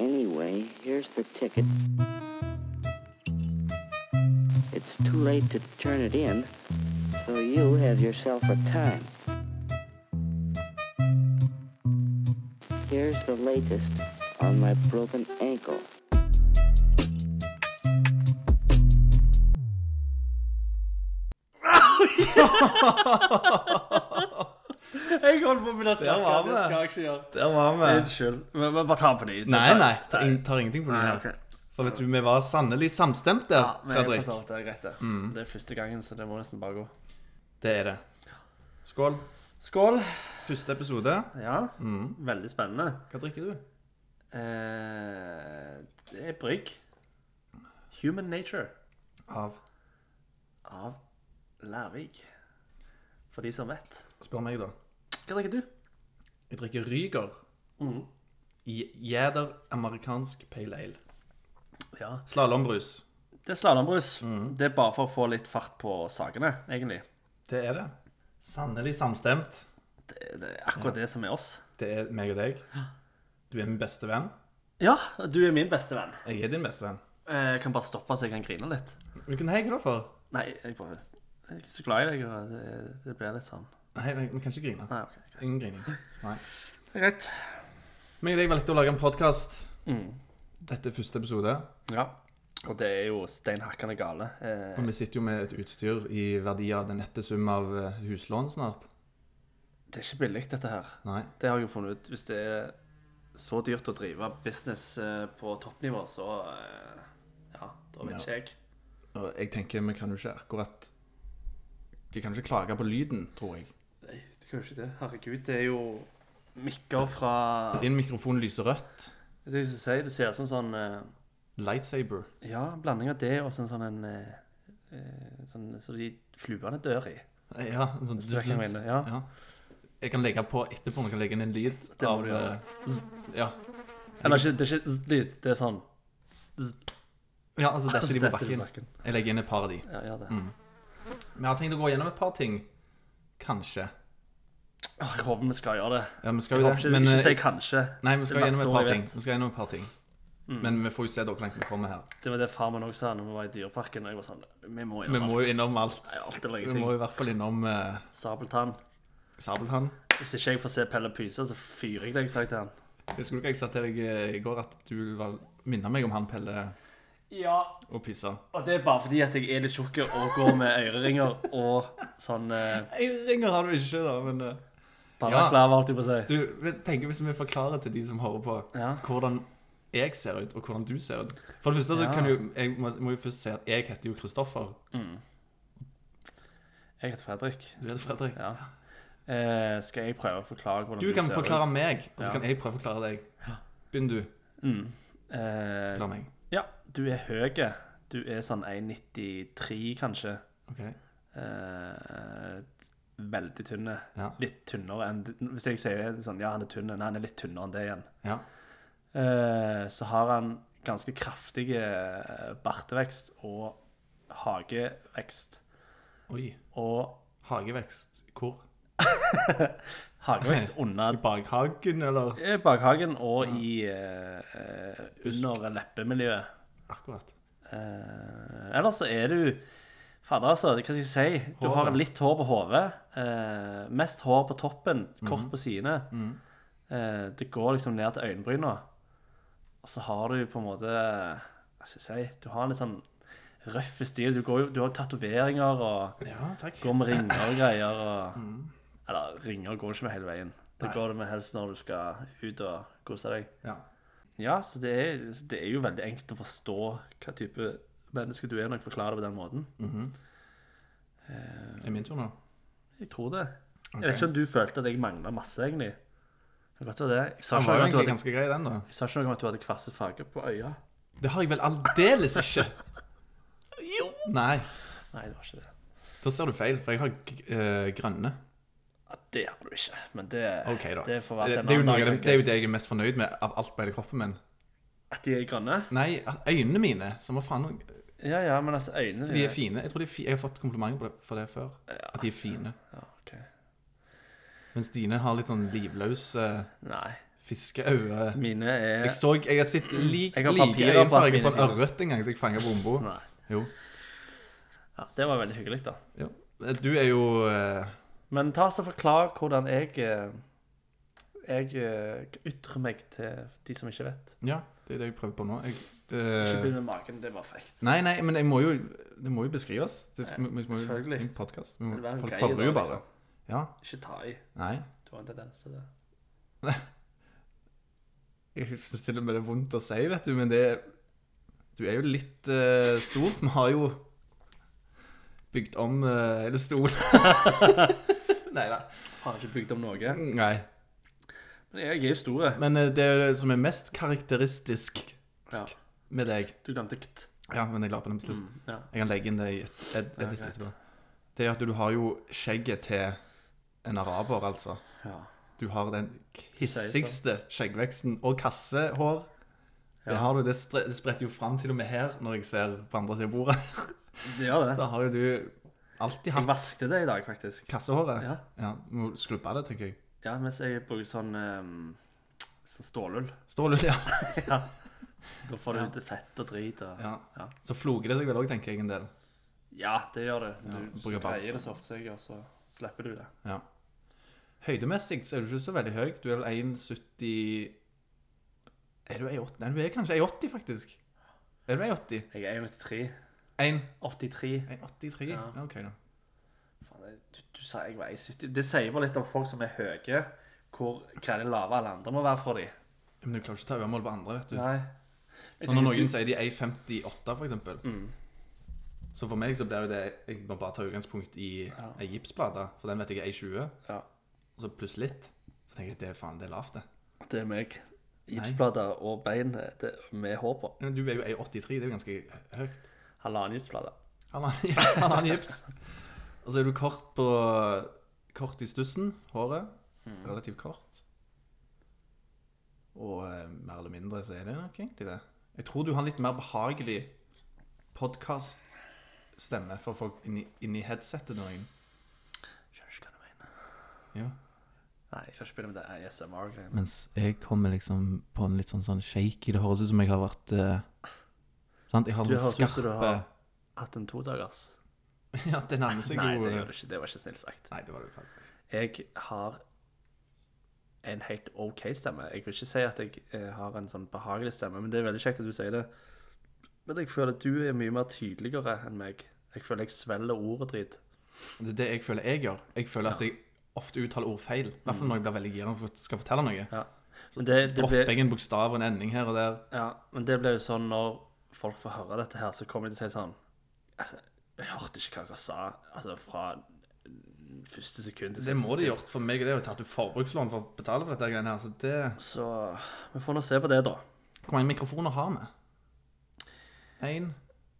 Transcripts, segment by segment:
Anyway, here's the ticket. It's too late to turn it in, so you have yourself a time. Here's the latest on my broken ankle. Jeg holdt på med det Der var snakke, det vi. skal jeg ikke gjøre. Der var vi. Unnskyld. Men men bare ta på de. Nei, nei. Tar, ing- tar ingenting på det Nei, her. ok. For vet du, vi var sannelig samstemt Ja, der, men jeg Fredrik. forstår at det er greit, det. Det er første gangen, så det må nesten bare gå. Det er det. Skål. Skål. Første episode. Ja, veldig spennende. Hva drikker du? Eh, det er brygg. Human Nature Av. av Lærvik. For de som vet. Spør meg, da. Hva drikker du? Jeg drikker Ryger. Mhm. J- Jæder amerikansk pale ale. Ja. Slalåmbrus. Det er slalåmbrus. Det er bare for å få litt fart på sakene, egentlig. Det er det. Sannelig samstemt. Det, det er akkurat det som er oss. Det er meg og deg. Du er min beste venn. Ja, du er min beste venn. Jeg er din beste venn. Eh, Jeg kan bare stoppe så jeg kan grine litt. Hvilken hei er du da for? Nei, jeg bare Jeg er ikke så glad i deg, og det, det blir litt sånn. Nei, vi vi kan ikke grine. Nei, ok. Ingen grining. Nei. Greit. Meg og deg valgte å lage en podkast. Mm. Dette er første episode. Ja. Og det er jo steinhakkende gale. Eh, Og vi sitter jo med et utstyr i verdi av den nette sum av eh, huslån snart. det er ikke billig, dette her. Nei. Det har jeg jo funnet ut. Hvis det er så dyrt å drive business eh, på toppnivå, så eh, Ja, da vet ikke jeg. Og jeg tenker vi kan jo ikke akkurat De kan ikke klage på lyden, tror jeg. Nei, det kan jo ikke det. Herregud, det er jo mikker fra Det Din mikrofon lyser rødt. er det jeg skulle si. Det ser ut som sånn eh, Lightsaber. Ja, blanding av det og sånn sånn en eh, eh, Sånn så de fluene dør i. Ja. sånn- Hvis du vet hva jeg mener. Ja. Ja. Jeg kan legge på etterpå, jeg kan legge inn en lyd Det må av du gjøre. eh, zzz, ja. Eller ikke, det er ikke lyd, det er sånn ja, altså detter Ah, de på Detter de bakken. Mm. Jeg legger inn et par av de. Ja, gjør det. Vi har tenkt å gå gjennom et par ting. Kanskje. Åh, Ah, Jeg håper vi skal gjøre det. Ja, vi skal Jeg jo håper det. ikke, Men ikke eh, si kanskje. Nei, vi skal Det gjennom verste et par ordet ting. jeg vet. Vi skal gjennom et par ting. Men vi får jo se da hvor langt Mm. vi kommer her. Det var det far min også sa når vi var i dyreparken. Og jeg var sånn Vi må Vi gjøre må jo innom alt. Nei, alt eller Vi ingenting. må i hvert fall innom eh, Sabeltann. Sabeltann. Hvis ikke jeg får se Pelle Pyse, så fyrer jeg deg, sa jeg til han. Husker du ikke jeg sa til deg eh, i går at du var minna meg om han Pelle Ja, og Pissa? og det er bare fordi at jeg er litt tjukk og går med øreringer og sånn eh, Jeg ringer han jo ikke, da, men eh, balaklava, holdt jeg på å si. Du, vi- tenker hvis vi forklarer til de som hører på, Ja. hvordan jeg ser ut, og hvordan du ser ut. For det første så Ja. kan du Jeg må, må jo først si at jeg heter jo Kristoffer. Jeg heter Fredrik. Du heter Fredrik. Ja. Eh, skal jeg prøve å forklare hvordan Du du, kan ser forklare ut? meg, og så Ja. kan jeg prøve å forklare deg. Begynn du. Eh, Forklar meg. ja, du er høy. Du er sånn 1,93 kanskje. Ok. Eh, veldig tynne. Ja. Litt tynnere enn Hvis jeg sier sånn, ja, han er tynn, nei, han er litt tynnere enn det igjen. ja. Eh, så har han ganske kraftig eh, bartevekst og hagevekst. Oi. Og Hagevekst. Hvor? hagevekst I under bakhagen, eller? eh, bakhagen og i eh, eh, under leppemiljøet. Akkurat. Eh, ellers så er du Fader, altså, hva skal jeg si? Du Håret. har litt hår på hodet. Eh, mest hår på toppen, kort Mhm. på sidene. Eh, det går liksom ned til øyenbryna. Og så har du på en måte Hva skal jeg si? Du har en litt sånn røff stil. Du, går, jo- du har tatoveringer og Ja, takk. går med ringer og greier. Og, Eller ringer går ikke med hele veien. Det Mhm. Nei. går det med helst når du skal ut og kose deg. Ja. Ja, så det er, det er jo veldig enkelt å forstå hva type menneske du er når jeg forklarer det på den måten. Er det min tur nå? Jeg tror det. Jeg vet ikke om du følte at jeg mangla masse, egentlig. Det kan godt være det. Jeg sa Den ikke var jo noe om at du egentlig hadde, ganske grei, den, da. jeg sa ikke noe om at du hadde kvasse farger på øya. Det har jeg vel aldeles ikke. Jo! Nei. Nei, det var ikke det. Da ser du feil, for jeg har g eh, grønne. Ja, det har du ikke, men det, OK, da. det får være til en det, er jo annen noe, dag. av det, det tenker er jeg. jo det jeg er mest fornøyd med av alt på hele kroppen min. At de er grønne? Nei, øynene mine. Som hva faen Ja ja, men altså øynene De er fine. Jeg tror de er fi jeg har fått komplimenter på det, for det før. At de er fine. Ja, ok. Mens dine har litt sånn livløse, Nei. Fiskeøye. Mine er Jeg så, jeg har sett Mm. lik, Jeg har like papirer på at øyenfarge på mine en fingre- ørret en gang, så jeg fanga bombo. Nei. Jo. Ja, det var veldig hyggelig, da. Ja. Du er jo eh, Men ta så forklar hvordan jeg eh, Jeg eh, ytrer meg til de som ikke vet. Ja, det er det jeg prøver på nå. Jeg, Ikke eh, begynn med magen, det var frekt. nei, nei, men jeg må jo, det må jo beskrives. Det skal, vi, vi må jo selvfølgelig. i en podcast. Vi må, Det er en folk greie da, hører jo bare. liksom. Ja. Ikke ta i. Nei. Du har en tendens til det. Jeg syns til og med det er vondt å si, vet du, men det Du er jo litt eh, stor. Vi har jo bygd om eh, hele stolen. nei da. Faen, ikke bygd om noe. Nei. Men jeg er jo stor. Men eh, det er det som er mest karakteristisk Ja. med deg Du glemte kt. Ja, men jeg la på den på slutt. Mm, ja. Jeg kan legge inn det i et ed Ja, edit greit. etterpå. Det er at du har jo skjegget til en araber, altså. Ja. Du har den hissigste skjeggveksten. Og kassehår. Det Ja. har du, det, stre det spretter jo fram til og med her, når jeg ser på andre siden av bordet. Det gjør det. Da har jo du alltid Jeg hatt vaskte det i dag, faktisk. kassehåret. Ja, Ja, Må skrubbe det, tenker jeg. ja mens jeg bruker sånn, ehm, sånn stålull. Stål, ja. Da får du Ja. ut fett og drit. Og... ja. Ja. Så floker det seg vel òg, tenker jeg en del. Ja, det gjør det. Du Ja, så bruker balsam. greier det så ofte som jeg gjør, så slipper du det. Ja. Høydemessig så er du ikke så veldig høy. Du er vel 1,70 Er du 1,80? Nei, du er kanskje 1,80, faktisk. Er du 1,80? Jeg er 1,93. 1 83. 1,83? Ja. Ja. OK, da. Faen, jeg- du, du sa jeg var 1,70. Det sier bare litt om folk som er høye, hvor greie lave alle andre må være for dem. Men du klarer ikke å ta øyemål på andre, vet du. Nei. Så når noen sier de er 1,58, for eksempel, Mm. så for meg så blir jo det Jeg må bare ta utgangspunkt i Ja. ei gipsplate, for den vet jeg er 1,20, Ja, og så pluss litt. Så tenker jeg det er faen, det er lavt, det. det er meg. Gipsplater og bein det, med hår på. Men du er jo 1,83, det er jo ganske høyt. Halvannen gipsplate. Han har, han har en gips. Og så er du kort på Kort i stussen, håret. Mm. Relativt kort. Og eh, mer eller mindre så er det nok egentlig det. Jeg tror du har en litt mer behagelig podkaststemme for folk inni, inni headsetet nå. Ingen. Skjønner ikke hva du mener. Ja. Nei, jeg skal ikke begynne med det ASMR-greiene. Mens jeg kommer liksom på en litt sånn, sånn shaky Det høres ut som jeg har vært eh, Sant? Jeg har sånn Det høres ut som du har hatt en todagers. Ja, det nærmer seg Nei, jo det eh, gjør det ikke. Det var ikke snilt sagt. Nei, det var det jo faktisk. Jeg har en helt OK stemme. Jeg vil ikke si at jeg eh, har en sånn behagelig stemme, men det er veldig kjekt at du sier det. Men jeg føler at du er mye mer tydeligere enn meg. Jeg føler jeg svelger ordet drit. Det er det jeg føler jeg gjør. Jeg føler at jeg ofte uttaler ord feil. I hvert fall når jeg blir veldig gira for at jeg skal fortelle noe. Mm. Ja. Men det, det Dropper blir, jeg en bokstav og en ending her og der. ja, men det blir jo sånn når folk får høre dette her, så kommer de til å si sånn altså, Jeg hørte ikke hva dere sa altså, fra første sekund til Det siste må de gjort for meg. Det er jo tatt ut forbrukslån for å betale for dette greiene her. Så det Så vi får nå se på det, da. Hvor mange mikrofoner har vi? Én,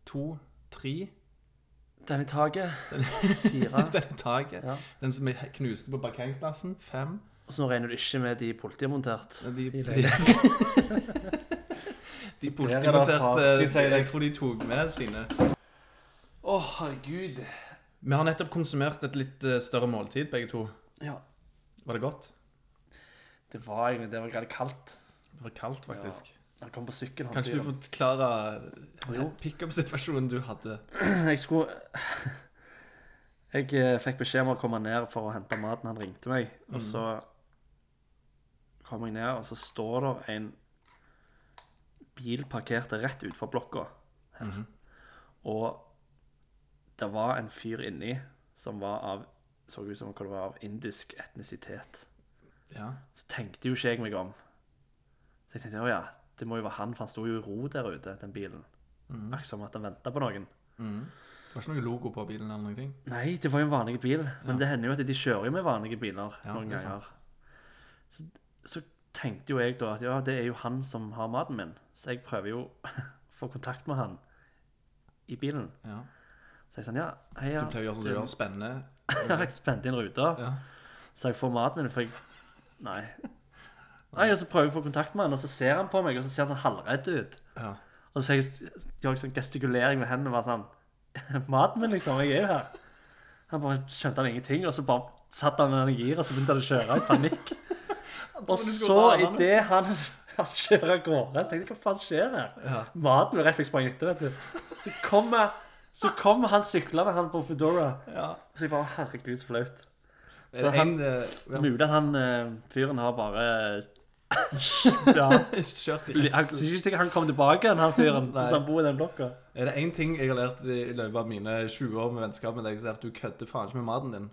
to, tre Den i taket. Fire. Den i taket. Ja. Den som jeg knuste på parkeringsplassen. Fem. Og så nå regner du ikke med de politiet har montert. Men De, I de, leiligheten. de par, skal politimonterte jeg si deg. Jeg tror de tok med sine. Å, herregud. Vi har nettopp konsumert et litt eh, større måltid, begge to. Ja. Var det godt? Det var egentlig det var greit kaldt. Det var kaldt, faktisk. Han kom på sykkel. han Kanskje du fyren. forklare Jo. pickup-situasjonen du hadde? Jeg skulle Jeg eh, fikk beskjed om å komme ned for å hente maten. Han ringte meg, og så Mm. kom jeg ned, og så står der en bil parkert rett utenfor blokka her. Mhm. Og det var en fyr inni som var av så ut som hva det var av indisk etnisitet. Ja. Så tenkte jo ikke jeg meg om. Så jeg tenkte, å ja, det må jo være han, for han sto jo i ro der ute, den bilen. Mhm. Akkurat som at han ventet på noen. Det var ikke noe logo på bilen eller noen ting? Nei, det var jo en vanlig bil, men det hender jo at de kjører jo med vanlige biler Ja, noen det er sant. ganger. Så, så tenkte jo jeg da at ja, det er jo han som har maten min, så jeg prøver jo å få kontakt med han i bilen. Ja. Så jeg sånn, ja, hei, ja. Du pleier å gjøre sånn som du gjør, spennende. Ja, jeg spente inn ruta, Ja. så jeg får maten min, for jeg Nei. Nei, og så prøver jeg å få kontakt med han, og så ser han på meg, og så ser han sånn halvredd ut. Ja. Og så jeg- gjør jeg sånn gestikulering med hendene, bare sånn Maten min, liksom. Jeg er jo her. Han bare skjønte han ingenting, og så bare satt han med den i gir, og så begynte han å kjøre i panikk. Og så, idet han, han kjører av gårde, så tenkte jeg hva faen skjer her? Ja. Maten var rett før jeg sprang etter, vet du. Så kommer så kom han syklende, han på Foodora. Ja. Så jeg bare Herregud, så flaut. Er det en, eh, Mulig at han eh, fyren har bare Ja. ja, kjørt i Han, det er ikke sikkert han kom tilbake, igjen, han fyren, Nei. hvis han bor i den blokka. Er det én ting jeg har lært i i løpet av mine 20 år med vennskap med deg, så er det at du kødder faen ikke med maten din.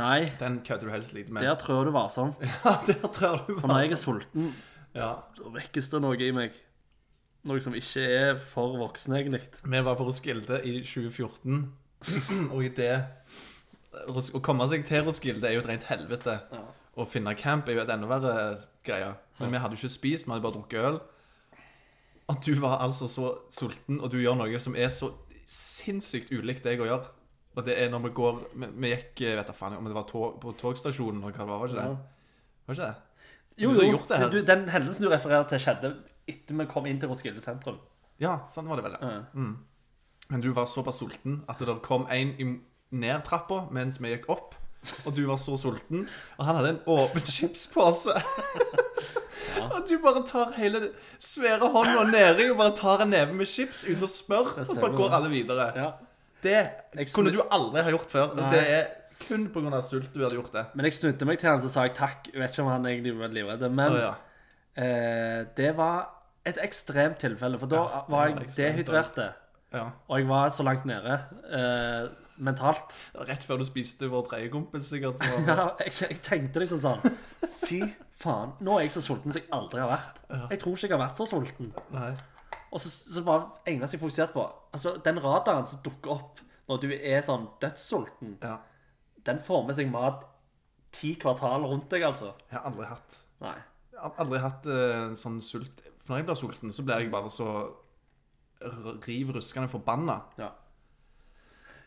Nei, Den kødder du helst lite med. der trør du varsomt. Ja, der trør du For når jeg er sulten, Ja. da vekkes det noe i meg. Noe som ikke er for voksen, egentlig. Vi var på Roskilde i 2014, og i det Ros- Å komme seg til Roskilde er jo et rent helvete. Ja. Å finne camp er jo et enda verre eh, greie. Men vi hadde jo ikke spist, vi hadde bare drukket øl. Og du var altså så sulten, og du gjør noe som er så sinnssykt ulikt deg å gjøre. Og det er når vi går Vi, vi gikk eh, vet da faen om det var tog, på togstasjonen eller hva det var, var ikke det? Ja. Var ikke det? Jo, Du som har jo. gjort det her. Du, den hendelsen du refererer til, skjedde etter vi kom inn til Roskilde sentrum. Ja, sånn var det vel. Ja. Ja. Mm. Men du var såpass sulten at det kom en i- ned trappa mens vi gikk opp. Og du var så sulten, og han hadde en åpen chipspose. Og du bare tar hele den svære hånda nedi og bare tar en neve med chips uten å spørre. Og så bare stemmer, går det. alle videre. Ja. Det Jeg snu- kunne du aldri ha gjort før. Og Nei. det er kun pga. sult du hadde gjort det. Men jeg snudde meg til han, så sa jeg takk. Jeg vet ikke om han egentlig var livredd. Men Å, ja. eh, det var et ekstremt tilfelle, for da Ja, det var var jeg ekstremt dehydrert. Ja. Og jeg var så langt nede eh, mentalt. Det var rett før du spiste vår tredje kompis, sikkert. så- Ja, jeg, jeg tenkte liksom sånn Fy faen, nå er jeg så sulten som jeg aldri har vært. Ja. Jeg tror ikke jeg har vært så sulten. Nei. Og så, så bare eneste jeg fokuserte på Altså, den radaren som dukker opp når du er sånn dødssulten, Ja. den får med seg mat ti kvartal rundt deg, altså. Jeg har aldri hatt Nei. Jeg har aldri hatt eh, en sånn sult For når jeg blir sulten, så blir jeg bare så r- riv ruskende forbanna. Ja.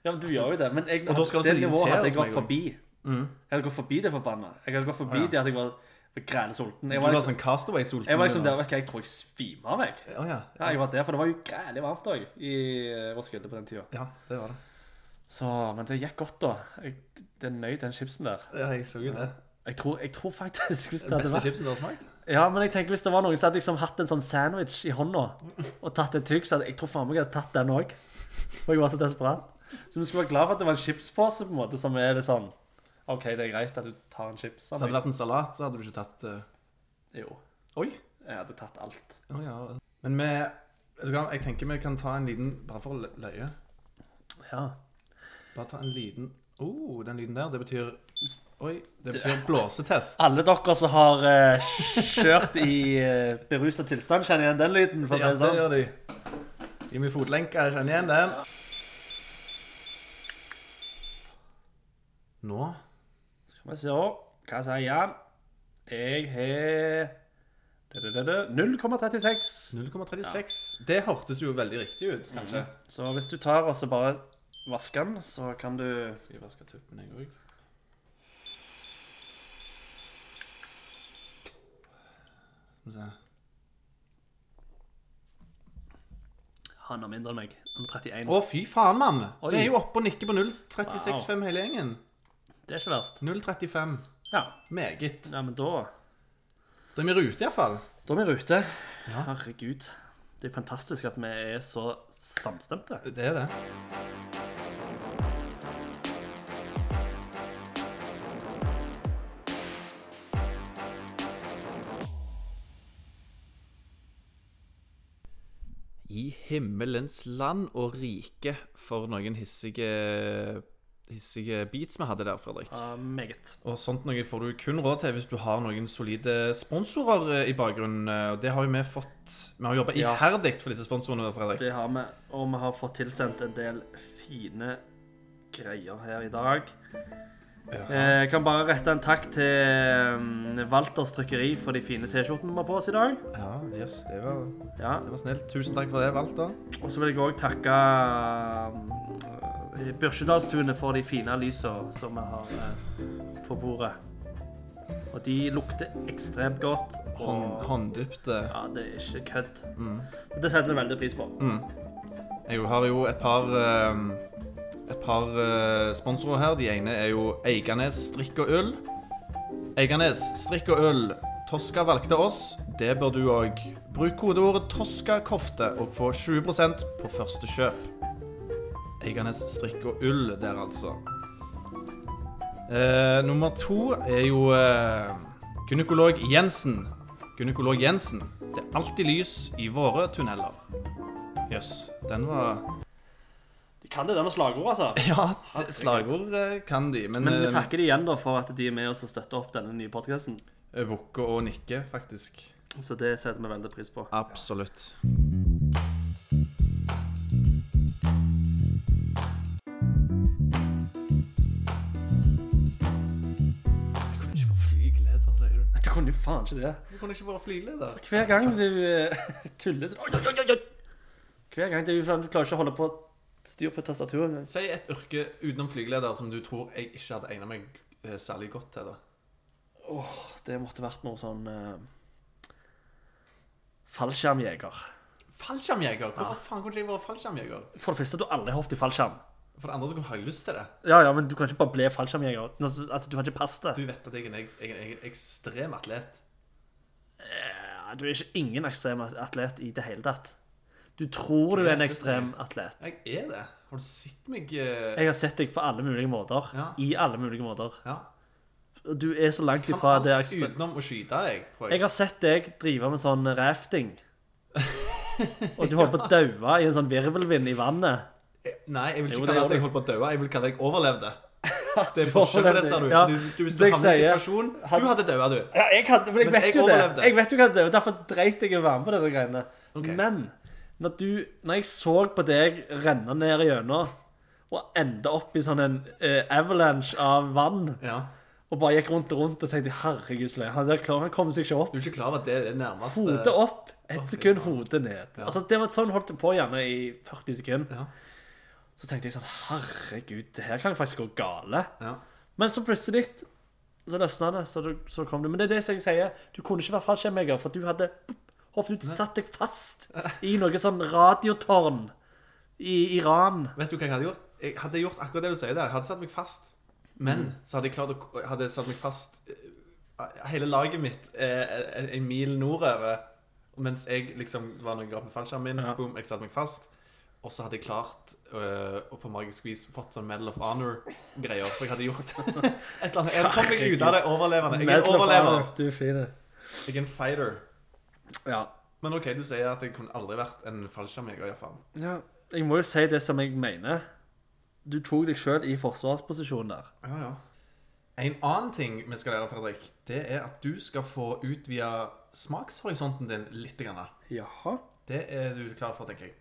Ja, men du gjør jo det. Men jeg, Og da skal det det nivået irritere hadde jeg oss med gått en gang. Mm. forbi. Jeg hadde gått forbi det forbanna. Jeg hadde gått forbi Ja. det at jeg var grænesulten. Du Jeg var blir liksom, sånn castaway-sulten. jeg var liksom der, vet du hva, jeg tror jeg svimer av, jeg. Å ja. Ja, jeg var der, for det var jo grælig varmt òg i eh, Roskilde på den tida. ja, det var det. Så, men det gikk godt, da. Jeg, det nøyd den chipsen der. Ja, jeg så jo det. Jeg tror, jeg tror faktisk hvis det Det hadde beste vært chipset du har smakt? Ja, men jeg tenker hvis det var noen som hadde liksom hatt en sånn sandwich i hånda og tatt et tygg, så hadde jeg tror faen meg jeg hadde tatt den òg. Og jeg var så desperat. Så vi skulle være glad for at det var en chipspose på en måte, som er litt sånn OK, det er greit at du tar en chips. Så hadde det vært en salat, så hadde du ikke tatt eh, Jo, Oi! jeg hadde tatt alt. Å ja. Men vi Vet du hva, jeg tenker vi kan ta en liten Bare for å lø- løye. Ja. Bare ta en liten Å, oh, den lyden der, det betyr Oi. Det betyr blåsetest. Alle dere som har eh, kjørt i uh, berusa tilstand, kjenner igjen den lyden, for å si Ja, det det sånn. gjør de. Gi meg fotlenka, jeg kjenner igjen den. Nå Skal vi se. Hva sier Jan? Jeg har da, da, da, da, 0,36. 0,36. Det hørtes jo veldig riktig ut, kanskje. Så hvis du tar og så bare vasker den, så kan du Skal jeg vaske tuppen, jeg òg? Skal vi se Han har mindre enn meg. Han er 31. Å, fy faen, mann! Oi. Vi er jo oppe og nikker på 0,365 hele gjengen. Det er ikke verst. 0,35. Ja, Meget. ja men da Da er vi i rute, iallfall. Da er vi i rute. Herregud. Det er fantastisk at vi er så samstemte. Det er det. I himmelens land og rike for noen hissige, hissige beats vi hadde der, Fredrik. Ja, meget. Og sånt noe får du kun råd til hvis du har noen solide sponsorer eh, i bakgrunnen. eh, Og det har jo vi fått Vi har jobba iherdig for disse sponsorene, Fredrik. Det har vi. Og vi har fått tilsendt en del fine greier her i dag. Eh, Jeg kan bare rette en takk til mm, Walters Trykkeri for de fine T-skjortene vi har på oss i dag. Ja, jøss, det var Ja, Det var snilt. Tusen takk for det, Walter. Og så vil jeg òg takke eh, Børsedalstunet for de fine lysene som vi har eh, på bordet. Og de lukter ekstremt godt. Hånd, Mm. Og hånddypte. ja, det er ikke kødd. Og det setter vi veldig pris på. Mm. Jeg har jo et par ehm, Et par eh, sponsorer her. De ene er jo Eiganes strikk og ull. Eiganes strikk og ull. Toska valgte oss, det bør du òg. Bruk kodeordet 'Toska-kofte' og få 20 på første kjøp. Eiganes strikk og ull der, altså. Eh, nummer to er jo eh, gynekolog Jensen. Gynekolog Jensen. Det er alltid lys i våre tunneler. Jøss, den var De kan det der med slagord, altså. Ja, det- slagord eh, kan de, Eh, men, Men vi eh, takker de igjen da for at de er med oss og støtter opp denne nye podkasten. bukke og nikke, faktisk. Så det setter vi veldig pris på. Absolutt. Jeg kunne ikke være flygeleder, sier du. Du kunne jo faen ikke det. Jeg kunne ikke være flygeleder. Hver gang du eh, tuller så- Oi, oi, oi, oi. Hver gang du, du klarer ikke å holde på styr på tastaturet engang. Si et yrke utenom flygeleder som du tror jeg ikke hadde egnet meg eh, særlig godt til. da. Det måtte vært noe sånn uh, Fallskjermjeger. Fallskjermjeger! Hvorfor faen kunne ikke jeg vært fallskjermjeger? For det første, du har aldri hoppet i fallskjerm. For det andre så har jeg lyst til det. Ja, ja, men du kan ikke bare bli fallskjermjeger. Nå, Altså, du har ikke passet det. Du vet at jeg er en, jeg er en ekstrem atlet. Ja, Du er ikke ingen ekstrem atlet i det hele tatt. Du tror du er en ekstrem atlet. Jeg er det. Har du sett meg eh, Jeg har sett deg på alle mulige måter. Ja. I alle mulige måter. Ja. Du er så langt Kan ifra alt det ekstra... utenom å skyte, jeg, tror Jeg har sett deg drive med sånn rafting. Og du holdt på å daue i en sånn virvelvind i vannet. Eh, Nei, jeg vil ikke Jo, det kalle gjør det at jeg du. holdt på å dø. Jeg vil kalle deg overlevde. Det er Du forskjell på det, overlevde. sa du. Ja, du, du hvis du det jeg havner i en sier- situasjon Had- Du hadde dødd, du. Ja, jeg, hadde, for jeg Men vet jeg jo overlevde. det. Jeg vet jo hva det er, og derfor dreit jeg i å være med på disse greiene. Ok. Men når, du, når jeg så på deg renne ned gjennom og ende opp i sånn en eh, avalanche av vann, Ja. og bare gikk rundt og rundt og tenkte herregud, sløy, han der klarer han kommer seg ikke opp. Du er ikke klar over at det er det nærmeste Hodet opp, ett sekund, hodet ned. Altså, det var sånn holdt det på gjerne i 40 sekunder. Ja. Så tenkte jeg sånn, herregud, det her kan jo faktisk gå gale. Ja. Men så plutselig så løsna det, så, du- så kom det. Men det er det som jeg sier. Du kunne ikke være fallskjermjeger, for du hadde pop, hoppet ut, satt deg fast i noe sånn radiotårn i Iran. Vet du hva jeg hadde gjort? Jeg hadde gjort akkurat det du sier der. Jeg hadde satt meg fast. Mm. Men så hadde jeg klart å hadde satt meg fast eh, Hele laget mitt eh, en- en mil nordover. Mens jeg liksom var noen grad med fallskjermen min. Ja. Boom, jeg satte meg fast. Og så hadde jeg klart eh, å på magisk vis fått sånn Medal of Honor-greier. For jeg hadde gjort et eller annet. Jeg kom meg ut av det overlevende. Jeg er en Medal of overlever. Honor. Du er fin. Jeg er en fighter. Ja. Men OK, du sier at jeg kunne aldri vært en fallskjermjeger, iallfall. ja. Jeg må jo si det som jeg mener. Du tok deg sjøl i forsvarsposisjon der. Ja, ja. En annen ting vi skal lære, Fredrik, det er at du skal få utvide smakshorisonten din litt. Grann. Jaha. Det er du klar for, tenker jeg.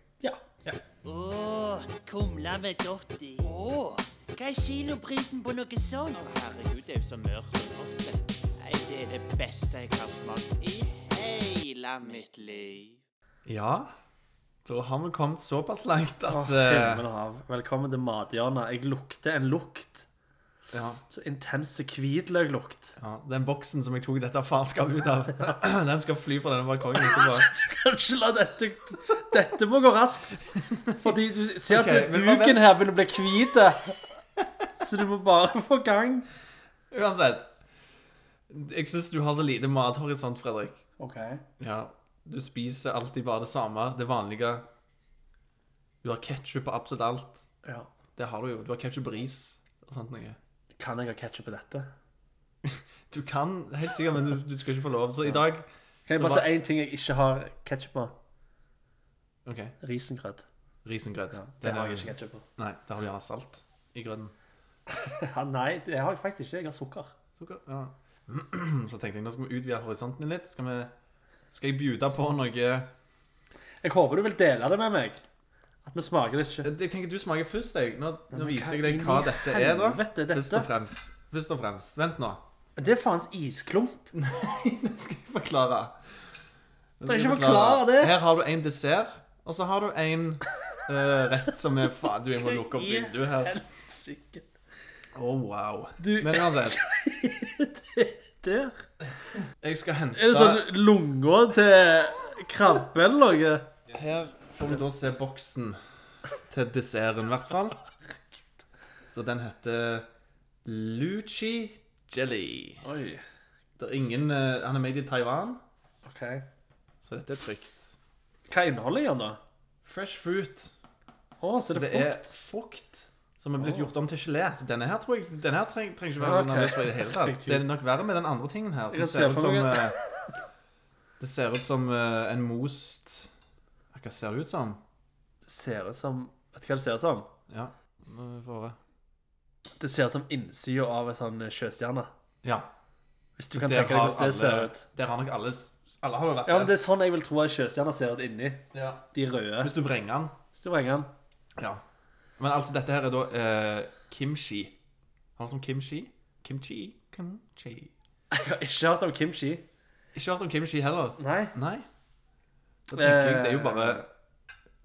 Ja. Åh, kumla med Dotti. Åh, hva er kiloprisen på noe sånt? Å, herregud, det er jo så mørkt og godt. Nei, det er det beste jeg har smakt i hele mitt liv. Ja. Da har vi kommet såpass langt Å, at eh, himmel og hav. Velkommen til mathjørnet. Jeg lukter en lukt. ja, Så intense hvitløklukt. ja, Den boksen som jeg tok dette faenskapet ut av, den skal fly fra denne balkongen. etterpå. Du kan ikke la dette Dette må gå raskt. Fordi du ser at Ok, men hva duken her begynner å bli hvit. Så du må bare få gang. Uansett. Jeg syns du har så lite mathorisont, Fredrik. OK. Ja, Du spiser alltid bare det samme, det vanlige. Du har ketsjup på absolutt alt. Ja. Det har du jo. Du har ketsjup og ris og sånt noe. Kan jeg ha ketsjup på dette? Du kan, helt sikkert, men du, du skal ikke få lov. Så i dag Kan jeg Så bare hva- si én ting jeg ikke har ketsjup på? OK, Risengrøt. risengrøt. Det har jeg ikke ketsjup på. Nei, det har du gjerne salt i grøten. Ja, nei, det har jeg faktisk ikke. Jeg har sukker. Sukker, ja. Så tenkte jeg, nå skal vi utvide horisonten din litt. Skal, vi, skal jeg bjuda på noe Jeg Jeg håper du vil dele det med meg. At vi smaker det ikke. tenker du smaker først, jeg. Nå, nå men hva viser jeg deg inn hva i dette er, da. helvete er dette? Først og fremst. Først og fremst. Vent nå. Det er faens isklump. Nå skal jeg forklare. Nå skal Trenger jeg ikke forklare det. Her har du en dessert, og så har du en eh, rett som er Faen, du, jeg må lukke opp I vinduet her. helsike. Å, Oh, wow. Du- Men uansett, Der. jeg skal hente Er det sånn lunga til krabbe eller noe? Her får vi da se boksen til desserten, i hvert fall. Så den heter Luci Jelly. Oi. Det er ingen, eh, han er made i Taiwan, Ok. så dette er trygt. Hva inneholder den, da? Fresh fruit. Å, så Så er det, det er frukt. frukt som er blitt gjort om til gelé. Så denne her tror jeg Denne her treng, trenger ikke Ja, være ok. nervøs for i det hele tatt. Riktig. Det er nok verre med den andre tingen her. Jeg Som kan se ser ut for som meg eh, Det ser ut som eh, en most Hva ser det ut som? Ser ut som Vet du hva det ser ut som? Ja, nå får vi høre. Det ser ut som innsida av en sånn sjøstjerne. Ja. Hvis du kan der tenke deg har hvordan det ser alle- ut. Der har nok alle Alle har jo vært Ja, men der. Det er sånn jeg vil tro en sjøstjerne ser ut inni. Ja. De røde. Hvis du vrenger den. Hvis du vrenger den. Ja. Men altså, dette her er da eh, kimchi. Har du hørt om kimchi? Kimchi? Kimchi Jeg har ikke hørt om kimchi. Ikke hørt om kimchi heller. Nei. Nei. Da tenker jeg det er jo Eh. bare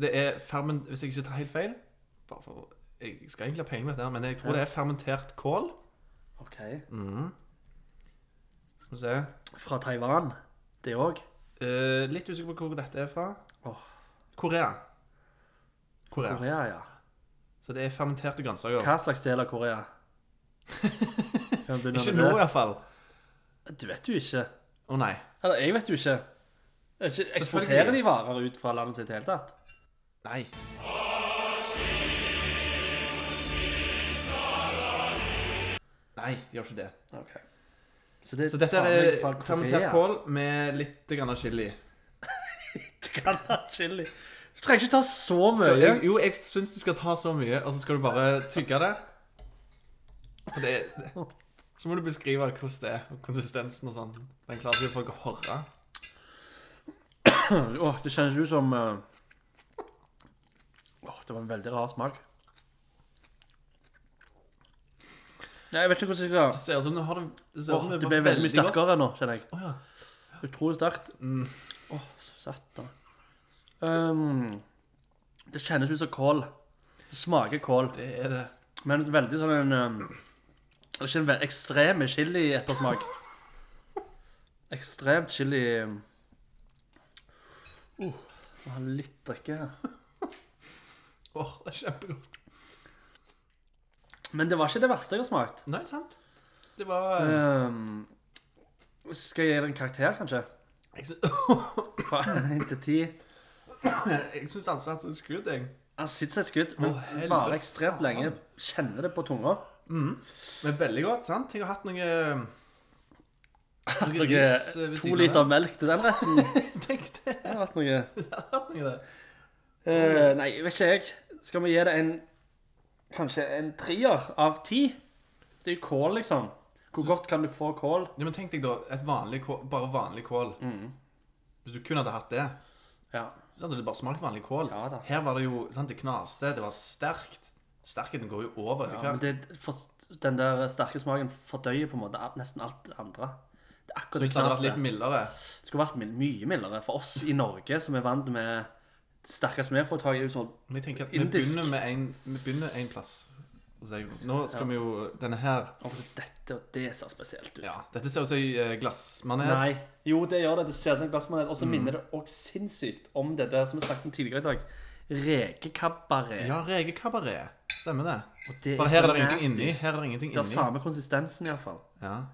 Det er fermen... Hvis jeg ikke tar helt feil bare for, Jeg skal egentlig ha peiling på dette, her, men jeg tror Ja. det er fermentert kål. OK. Skal vi se Fra Taiwan. Det òg. Eh, Litt usikker på hvor dette er fra. Åh. Korea. Korea. Korea, ja. Så det er fermenterte grønnsaker. Hva slags del av Korea? Kan vi begynne Ikke nå, med det? iallfall. Du vet jo ikke. Å nei. Eller jeg vet jo ikke. Jeg vet ikke- Eksporterer de varer ut fra landet sitt i det hele tatt? Nei. Nei, de gjør ikke det. OK. Så, det Så dette vanlig er fra Korea. fermentert kål med litt grann chili. Du kan ha chili. Du trenger ikke ta så Så mye. jeg, jo, jeg syns du skal ta så mye, og så skal du bare tygge det. For det Så må du beskrive hvordan det er, og konsistensen og sånn. Den klarer ikke folk å høre. Åh, det kjennes ut som eh, Åh, det var en veldig rar smak. Nei, jeg vet ikke hvordan jeg skal Det ser ut som du har det Det, ser ut Åh, som Det ble veldig mye godt. sterkere nå, kjenner jeg. Å ja. Utrolig sterkt. Mm. Åh, satan. Ehm, det kjennes ut som kål. Det smaker kål. Det er det. Men veldig sånn en ehm, det er Ikke en ve- ekstrem chili-ettersmak. Ekstremt chili ehm. Uh, må ha litt drikke her. Åh, det er kjempegodt. Men det var ikke det verste jeg har smakt. Nei, sant? Det var Ehm, skal jeg gi det en karakter, kanskje? Jeg syns Fra 1 til 10? altså at det er skudd, jeg. Han sitter seg et skudd, men Å, helvete. varer ekstremt lenge. Kjenner det på tunga. Men veldig godt, sant? Jeg har hatt noe Noe Dere, lys ved to siden liter av melk til den retten. det. Tenk det. Det har vært noe. Jeg har hatt noe der. Eh, nei, vet ikke jeg. Skal vi gi det en kanskje en trier av ti? Det er jo kål, liksom. Hvor godt kan du få kål? Ja, men tenk deg da, et vanlig kål, bare vanlig kål. Mm. Hvis du kun hadde hatt det, Ja. så hadde det bare smakt vanlig kål. Ja da. Her var det jo sant, Det knaste, det var sterkt. Sterkheten går jo over etter Men hvert. det, for, den der sterke smaken fordøyer på en måte alt- nesten alt det andre. Det er Så akkurat det hvis det hadde vært knaset. litt mildere Det skulle vært mild- mye mildere for oss i Norge, som er vant med det sterkeste vi får tak i. er jo Sånn, Men jeg tenker at vi Indisk. begynner med en, vi begynner en plass. hos deg. Nå skal vi jo Denne her «Å, dette og det ser spesielt ut. ja, Dette ser ut som ei eh, glassmanet. Nei. Jo, det gjør det. Det ser ut som en glassmanet. Og Mm. så minner det òg sinnssykt om det der som vi snakket om tidligere i dag. Rekekabaret. Ja, Rege Kabaret. Stemmer det. Og det Bare her så er det ingenting nasty. inni. Her er det ingenting Det har inni. samme konsistensen, iallfall. Ja.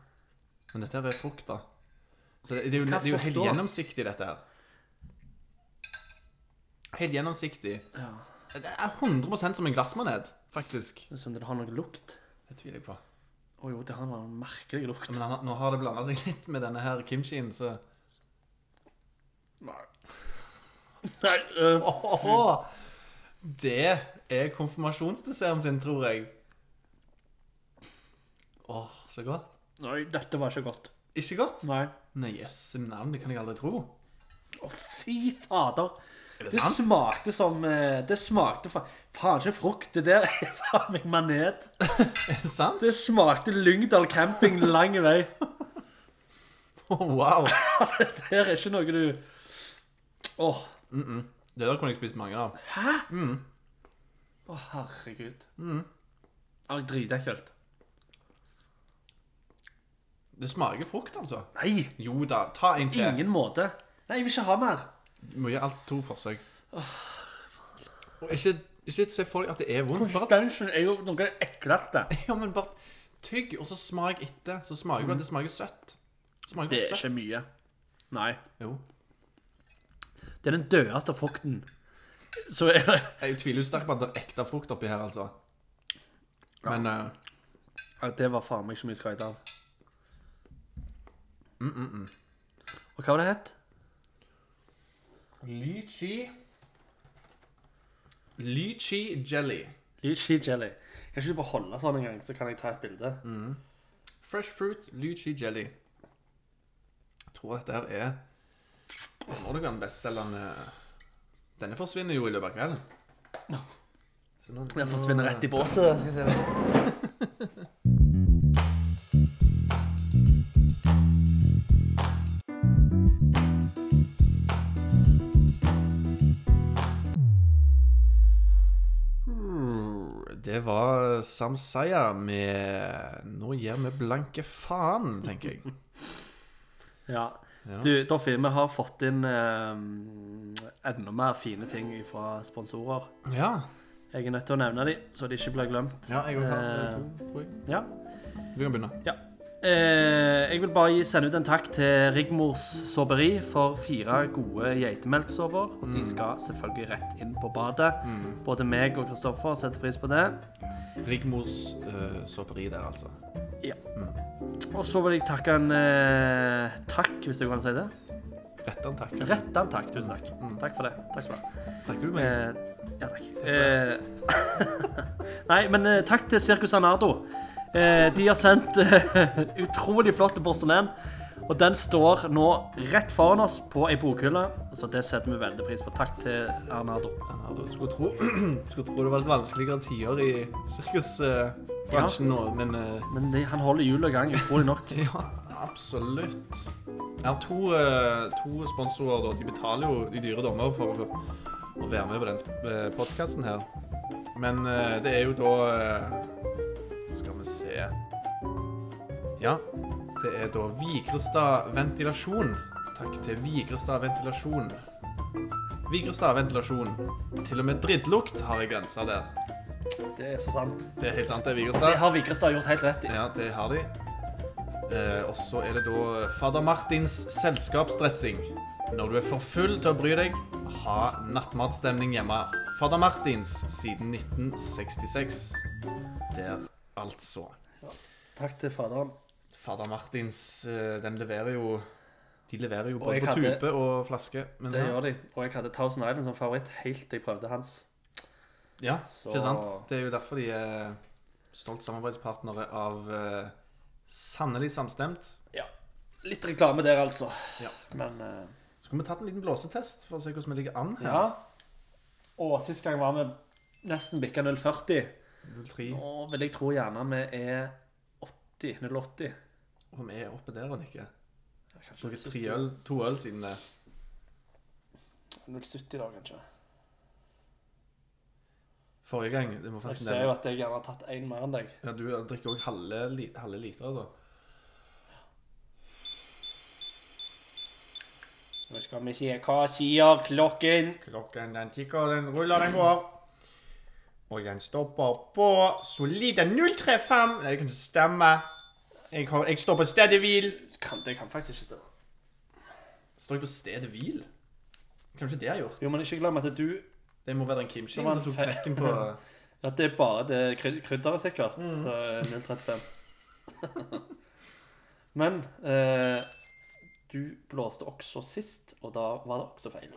Men dette her er frukt, da. Så det, det, er, jo, Hva det er jo frukt helt da? gjennomsiktig, dette her. Helt gjennomsiktig. Ja. Det er 100 som en glassmanet, faktisk. Det er som det har noe lukt. Det tviler jeg på. Å jo, det har en merkelig lukt. Men han, har- nå har det blanda seg litt med denne her kimchien, så Nei. Nei øh, Åh, Det er konfirmasjonsdesserten sin, tror jeg. Åh, så godt. Nei, dette var ikke godt. Ikke godt? Nei. Nei, jøsse navn, det kan jeg aldri tro. Å, fy fader. Er det Det sant? smakte som eh, Det smakte fa faen ikke frukt. Det der er faen meg manet. Er det sant? Det smakte Lyngdal camping lang vei. Åh, wow. Det der er ikke noe du Åh, Det der kunne jeg spist mange av. å, herregud. Ah, Mm. Det er dritekkelt. Det smaker frukt, altså. Nei, Jo da, ta en til. ingen måte. Nei, jeg vil ikke ha mer. Du må gi alt to forsøk. Og ikke, ikke se for deg at det er vondt. Bare, Stansen er jo noe av det ekleste. ja, men bare tygg, og så smak etter. Så smaker du at det smaker søtt. Smaker Mm. Det er søtt. ikke mye. Nei. Jo. Det er den dødeste frukten. Så er det Jeg tviler jo sterkt på at det er ekte frukt oppi her, altså. Men eh, Ja, Det var faen meg så mye skryt av. Og hva var det het? Lychee Lychee jelly. Lychee jelly. Kan ikke du bare holde sånn en gang, så kan jeg ta et bilde? Fresh fruit lychee jelly. Jeg tror dette her er Det må du kan bestselgende eh, Denne forsvinner jo i løpet av kvelden. Så nå- Den forsvinner rett i båset. skal jeg si det. Det var Samsaya med 'Nå gir vi blanke faen', tenker jeg. Ja. Ja. Du, Doffi, vi har fått inn eh, enda mer fine ting fra sponsorer. Ja. Jeg er nødt til å nevne dem, så de ikke blir glemt. ja jeg òg har Eh, to, tror jeg. ja. Du kan begynne. Ja. Eh, jeg vil bare gi- sende ut en takk til Rigmors Såperi for fire gode geitemelksåper. Og Mm. de skal selvfølgelig rett inn på badet. Både meg og Kristoffer setter pris på det. Rigmors uh, såperi der, altså. Og så vil jeg takke en eh, takk, hvis det går an å si det. Rett an takk. Rett en takk. Tusen takk. Mm. Takk for det. Takk skal du ha. Takker du meg? Eh, ja, takk. Eh, nei, men eh, takk til Circus Arnardo. Eh, de har sendt eh, utrolig flott porselen. Og den står nå rett foran oss på ei bokhylle, så det setter vi veldig pris på. Takk til Arnardo. Ja, du skulle tro, skulle tro det var litt vanskeligere tider i sirkusbransjen nå, men eh, Men de, han holder hjulet i gang, utrolig nok. ja, absolutt. Jeg har to, eh, to sponsorer, da. De betaler jo de dyre dommer for å, å være med på den podkasten her. Men eh, det er jo da eh, Skal vi se Ja, det er da Vigrestad Ventilasjon. Takk til Vigrestad Ventilasjon. Vigrestad Ventilasjon. Til og med drittlukt har jeg grensa der. Det er så sant. Det er helt sant, det er Det Vigrestad. har Vigrestad gjort helt rett i. Ja, det har de. Eh, og så er det da Fader Martins selskapsdressing. Når du er for full til å bry deg, ha nattmatstemning hjemme. Fader Martins siden 1966. Der, altså. Takk til faderen. Fader Martins, eh, den leverer jo De leverer jo både jeg på hadde- tupe og flaske. Men Det ja, gjør de. Og jeg hadde Thousand Island som favoritt helt til jeg prøvde hans. ja, Så- ikke sant? Det er jo derfor de er stolt samarbeidspartnere av eh, Sannelig samstemt. Ja. Litt reklame der, altså. Ja. Men eh, Så kunne vi tatt en liten blåsetest for å se hvordan vi ligger an her. Ja. Og sist gang var vi nesten bikka 0,40. 03. Nå vil jeg tro gjerne vi er 80. 0,80. Og vi er oppe der og nikker. Ja, kanskje Drukket tre øl, to øl siden eh, det. 0,70 da, kanskje. forrige gang. Det må Jeg faktisk ser jo nevne. at jeg gjerne har tatt én mer enn deg. Ja, du eh, drikker òg halve, li- halve liter, da. Nå skal vi se Hva sier klokken? Klokken den tikker, den ruller, den går. Og den stopper på solide 035. Nei, det kan ikke stemme. Jeg, har, jeg står på stedet hvil. Kan, det kan faktisk ikke stemme. Står jeg på stedet hvil? Kanskje det jeg har gjort? Jo, men ikke glem at du Det må være den kimchi Det var som en tok fe- knekken på At det er bare det kryd- krydderet, Mm. sikkert. Så eh, er 0,35. men eh, du blåste også sist, og da var det også feil.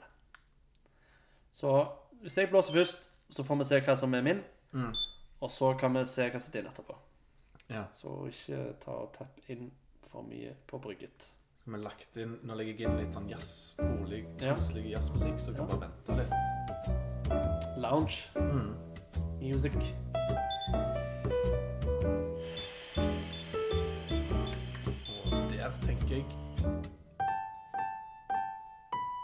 Så hvis jeg blåser først, så får vi se hva som er min. Mm. Og så kan vi se hva som er din etterpå. Ja. Så ikke ta og tapp inn for mye på brygget. Som er lagt inn Nå legger jeg inn litt sånn jazz, rolig, Ja. koselig jazzmusikk, så kan vi bare vente litt. Lounge. Mm. Music. Og der tenker jeg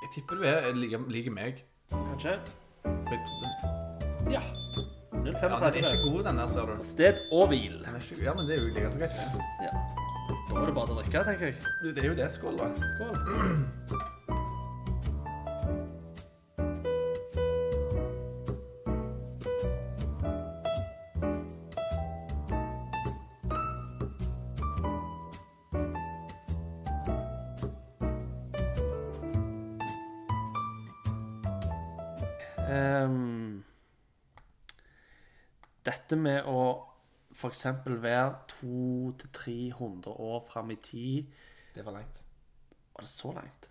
Jeg tipper du er like, like meg. Kanskje? For jeg tror den- Ja. Ja, den er 0,35. ikke god, den der, ser du. Sted og hvil. Den er ikke, ja, men det er jo like så greit. det. Ja. Da er det bare til å drikke, tenker jeg. Det er jo det. Skål, da. Skål. Ehm, dette med å f.eks. være 200-300 år fram i tid Det var langt. Var det så langt?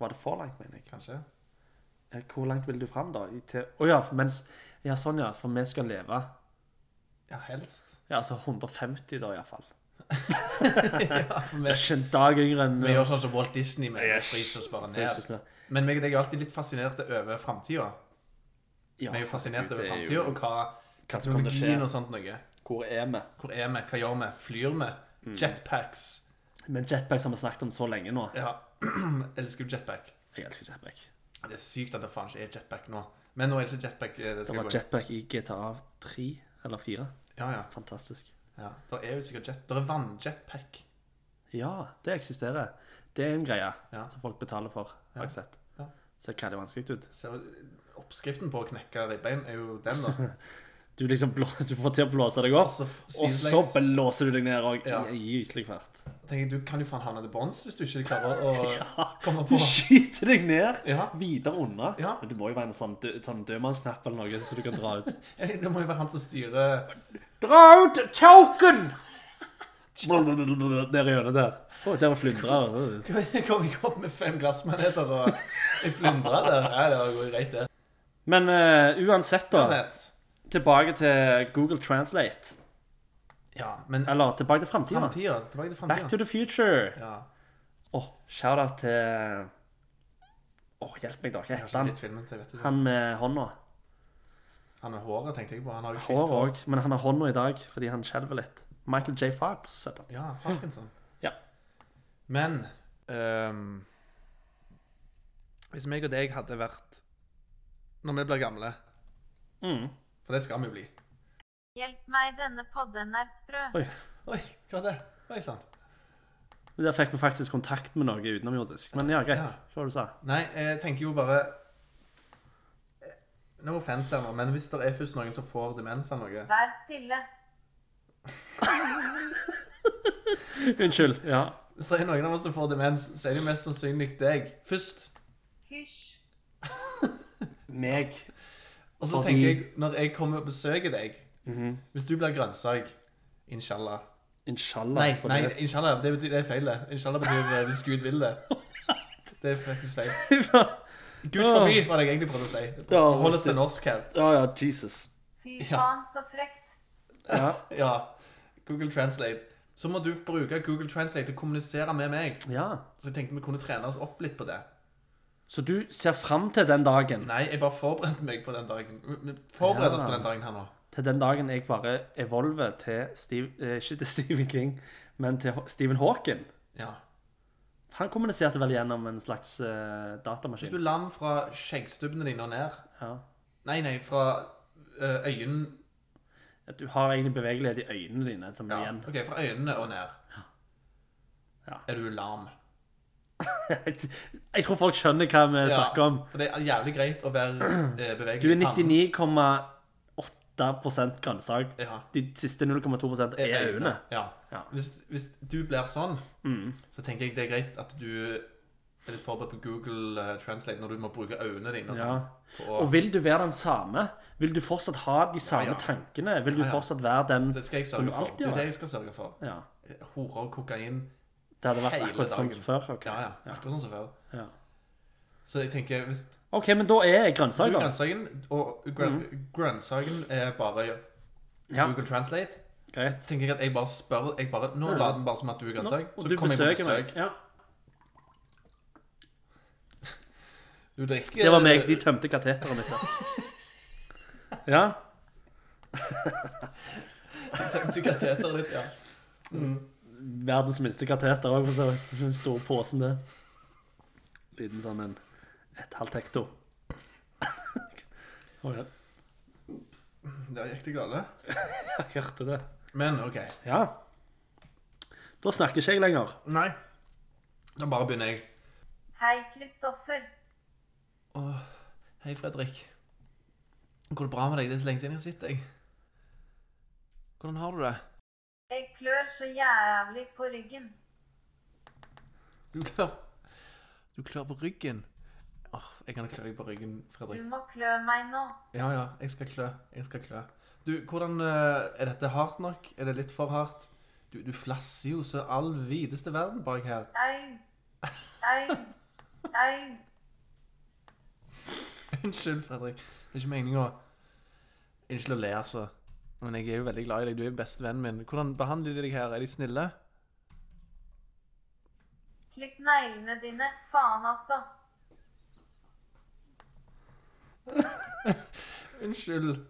Var det for langt, mener jeg? Kanskje. Eh, Hvor langt vil du fram, da? I til- Å ja, mens Ja, sånn, ja. For vi skal leve Ja, helst. Ja, altså 150, da, iallfall. Ja, for Det er vi, ikke en dag yngre enn vi gjør sånn som Walt Disney med Yes. fryser oss bare ned. Fryses ned. Men meg og deg er alltid litt fascinerte over framtida. Ja, Vi er jo fascinert herregud, over det er framtida jo- og hva Hva som kommer til å skje. teknologien og sånt noe. Hvor er vi? Hvor er vi? Hva gjør vi? Flyr vi? Mm. Jetpacks. Men jetpacks har vi snakket om så lenge nå. Ja. Elsker jo jetpack. Jeg elsker jetpack. Det er sykt at det faen ikke er jetpack nå. Men nå er det ikke jetpack eh, det Det skal var gå i. jetpack i GTA 3 eller 4. Ja, ja. Fantastisk. ja. Det er jo sikkert jet... Det er vannjetpack. Ja, det eksisterer. Det er en greie Ja. som folk betaler for, har jeg sett. Ja. Ser veldig vanskelig ut. Ser du- Oppskriften på å knekke ribbein er jo den, da. Du liksom blå, du får til å blåse deg opp, så og så sidelegs. blåser du deg ned og Ja. i gyselig fart. Tenker jeg, Du kan jo faen havne til bånns hvis du ikke klarer å komme Du på skyter deg ned Ja. videre unna. Ja. Men det må jo være en sånn, dø, sånn dødmannsknapp eller noe, så du kan dra ut. Det må jo være han som styrer Dra ut choken! Ned i hjørnet der. Å, der var flyndrer. Kom ikke opp med fem glassmaneter og ei flyndre der. Ja, det var jo greit, det. Men eh, uansett, da. Uansett. Tilbake til Google Translate. Ja, men Eller tilbake til framtida. framtida Tilbake til Back to the framtida. future. Ja, Åh, shout-out til Åh, hjelp meg, da. Hva jeg har heter ikke han? sett filmen, så jeg vet ikke. Han med hånda. Han med håret tenkte jeg på. Han har jo hvitt Hår òg, men han har hånda i dag fordi han skjelver litt. Michael J. Fox heter han. Ja, Parkinson. Ja. Men ehm, Hvis meg og deg hadde vært Når vi blir gamle, Mm. for det skal vi jo bli Hjelp meg, denne podden er sprø. Oi. Oi, hva var det? Oi sånn. sann. Der fikk vi faktisk kontakt med noe utenomjordisk. Men ja, greit. Ja. Hva var det du sa Nei, jeg tenker jo bare eh, No offense her nå, men hvis det er først noen som får demens av noe Vær stille. Unnskyld. Ja. Hvis det er noen av oss som får demens, så er det jo mest sannsynlig deg først. Hysj. Meg. Og så Fordi- Mhm. tenker jeg, når jeg kommer og besøker deg Hvis du blir grønnsak, inshallah Inshallah. Nei, på nei, det. inshallah, det, betyr, det er feil det. Inshallah betyr eh, hvis Gud vil det. Det er faktisk feil. Gud forby, var det jeg egentlig prøvde å si. Ja, Hold oss til norsk her. Ja, ja, Jesus. Fy Ja. faen, så frekt. Ja. Ja, Google Translate. Så må du bruke Google Translate til å kommunisere med meg. ja. Så jeg tenkte vi kunne trene oss opp litt på det. Så du ser fram til den dagen? Nei, jeg bare forberedte meg på den dagen. Vi forbereder oss Ja. på den dagen her nå. Til den dagen jeg bare evolver til Steve, eh, Ikke til Stephen King, men til Ho- Stephen Hawking. Ja. Han kommuniserte vel gjennom en slags eh, Hvis du datamaskin. lam fra skjeggstubbene dine og ned Ja. Nei, nei, fra eh, øynene At Du har egentlig bevegelighet i øynene dine. som ja. igjen. OK, fra øynene og ned. Ja. Er du lam? Jeg tror folk skjønner hva vi snakker om. For det er jævlig greit å være eh, bevegelig. Du er i pannen. 99,8 grønnsak. Ja. De siste 0,2 er øynene. Ja. Ja. Mm. Hvis, hvis du blir sånn, så tenker jeg det er greit at du er litt forberedt på Google eh, Translate når du må bruke øynene dine. Og Ja. sånn. Og vil du være den samme? Vil du fortsatt ha de samme Ja, ja. tankene? Vil du ja. fortsatt være den Det skal jeg Som sørge du for. alltid Det har er det vært. jeg skal sørge for. Ja. Horer og kokain. Det hadde vært Hele akkurat sånn som dagen. før? ok. Ja, ja. Akkurat sånn som før. Ja. Så jeg tenker, hvis du OK, men da er jeg grønnsak, er da. grønnsaken, og grøn, grønnsaken er bare Mm. Ja. Google Translate, Greit. så tenker jeg at jeg bare spør jeg bare, Nå Ja. later den bare som at du er grønnsak, Og så du kommer jeg på besøker meg. besøk. Ja. Du drikker Det var meg. De tømte kateteret mitt. der. Ja. tømte kateteret ditt, ja. Verdens minste kateter òg, for så vidt. Den store posen der. Liten sånn en et halvt hekto. Å, ja. Der gikk det gale. Jeg hørte det. Men OK. Ja. Da snakker ikke jeg lenger. Nei. Da bare begynner jeg. Hei, Kristoffer. Hei, Fredrik. Går det bra med deg? Det er så lenge siden jeg har sett deg. Hvordan har du det? Jeg klør så jævlig på ryggen. Du klør Du klør på ryggen. Åh, jeg kan klø deg på ryggen, Du Fredrik. må klø meg nå. Ja, ja, jeg skal klø. Jeg skal klø. Du, hvordan eh, Er dette hardt nok? Er det litt for hardt? Du, du flasser jo så all videste verden bak her. Au. Au. Au. Unnskyld, Fredrik. Det er ikke meninga. Unnskyld å le, altså. Men jeg er jo veldig glad i deg. Du er jo bestevennen min. Hvordan behandler de deg her? Er de snille? Klipp neglene dine. Faen, altså. Unnskyld.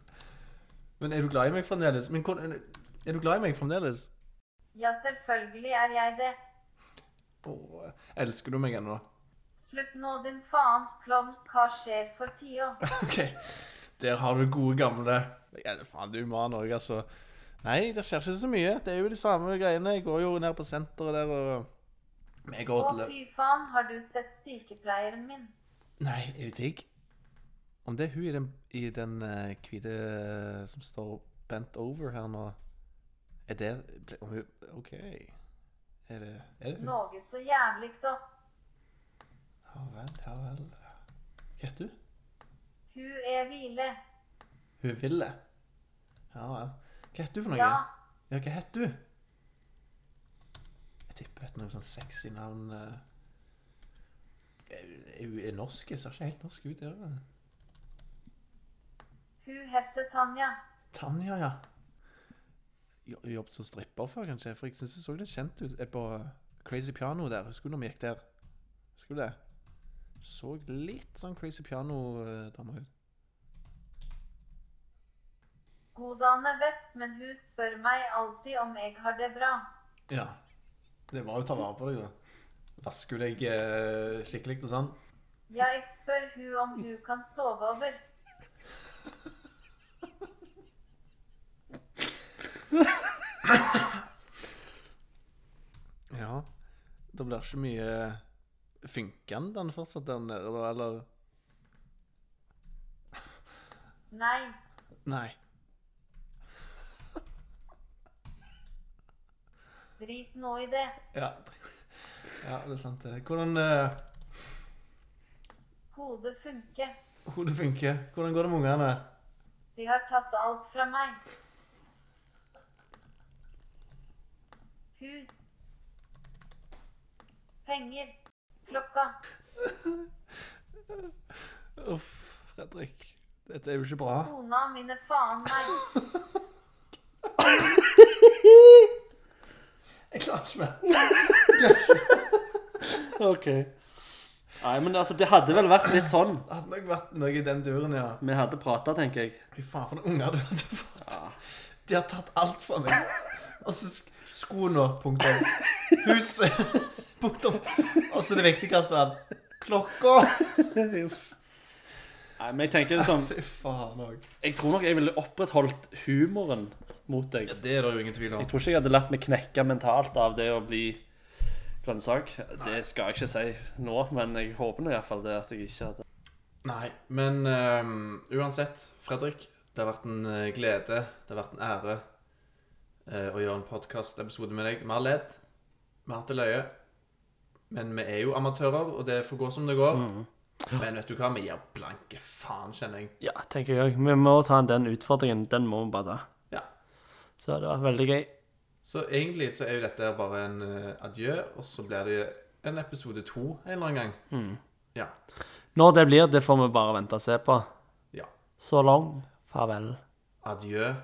Men er du glad i meg fremdeles? Men hvordan Er du glad i meg fremdeles? Ja, selvfølgelig er jeg det. Åh, elsker du meg ennå? Slutt nå, din faens klovn. Hva skjer for tida? OK. Der har du gode gamle ja, Faen, du er human òg, altså. Nei, det skjer ikke så mye. Det er jo de samme greiene. Jeg går jo ned på senteret der og Men jeg Å, går til fy faen, har du sett sykepleieren min? Nei, er hun digg? Om det er hun i den, i den eh, hvite eh, som står bent over her nå Er det ble- Om hun OK. Er det, er det hun? Noe så jævlig, da. Ja vel, ja vel. Hva heter hun? Hu er hvile. Hun ville. Ja vel. Hva heter du for noe? Ja, Ja, hva het du? Jeg tipper et noe sånn sexy navn eh. Er hun- Er hun er norsk? Hun ser ikke helt norsk ut. Gjør hun? hu heter Tanja. Tanja, ja. Jo- Hun jobbet som stripper før, kanskje? For jeg syns hun så litt kjent ut eh, på Crazy Piano der. Husker du når vi gikk der? Husker du det? Så litt sånn Crazy Piano-dame ut. Godane vet, men hun spør meg alltid om jeg har det bra. Ja. Det var jo å ta vare på deg, da. Vasker deg eh, skikkelig og sånn. Ja, jeg spør hu om hu kan sove over. Ja. Det blir ikke mye Funker den fortsatt der nede, da, eller? Nei. Nei. Drit nå i det. Ja, ja det er sant. det. Hvordan eh, Hodet funker. Hodet funker. Hvordan går det med ungene? De har tatt alt fra meg. Hus. Penger. Klokka. Uff, Fredrik. Dette er jo ikke bra. Kona mine faen meg. Jeg klarer ikke mer. OK. Nei, men altså, det hadde vel vært litt sånn. Det hadde nok vært noe i den duren, ja. Vi hadde prata, tenker jeg. Fy faen, for noen unger du hadde fått. De har tatt alt fra meg. Og så sk skoene, punktum. Huset, punktum. Og så det viktigste av alt. Klokka. Nei, men jeg tenker liksom Fy faen òg. Jeg tror nok jeg ville opprettholdt humoren mot deg. Jeg Det er det jo ingen tvil om. tror ikke jeg hadde latt meg knekke mentalt av det å bli grønnsak. Det skal jeg ikke si nå, men jeg håper nå iallfall det at jeg ikke hadde Nei, men ehm, uansett, Fredrik, det har vært en eh, glede, det har vært en ære eh, å gjøre en podkastepisode med deg. Vi har ledd, vi har hatt det løye, men vi er jo amatører, og det får gå som det går. Men vet du hva, vi gir blanke faen, kjenner jeg. Ja, tenker jeg Vi må ta den utfordringen. Den må vi bare ta. Ja. Så det var veldig gøy. Så egentlig så er jo dette bare en eh, adjø, og så blir det en episode to en eller annen gang. Ja. Når det blir, det får vi bare vente og se på. ja. Så lang farvel. Adjø.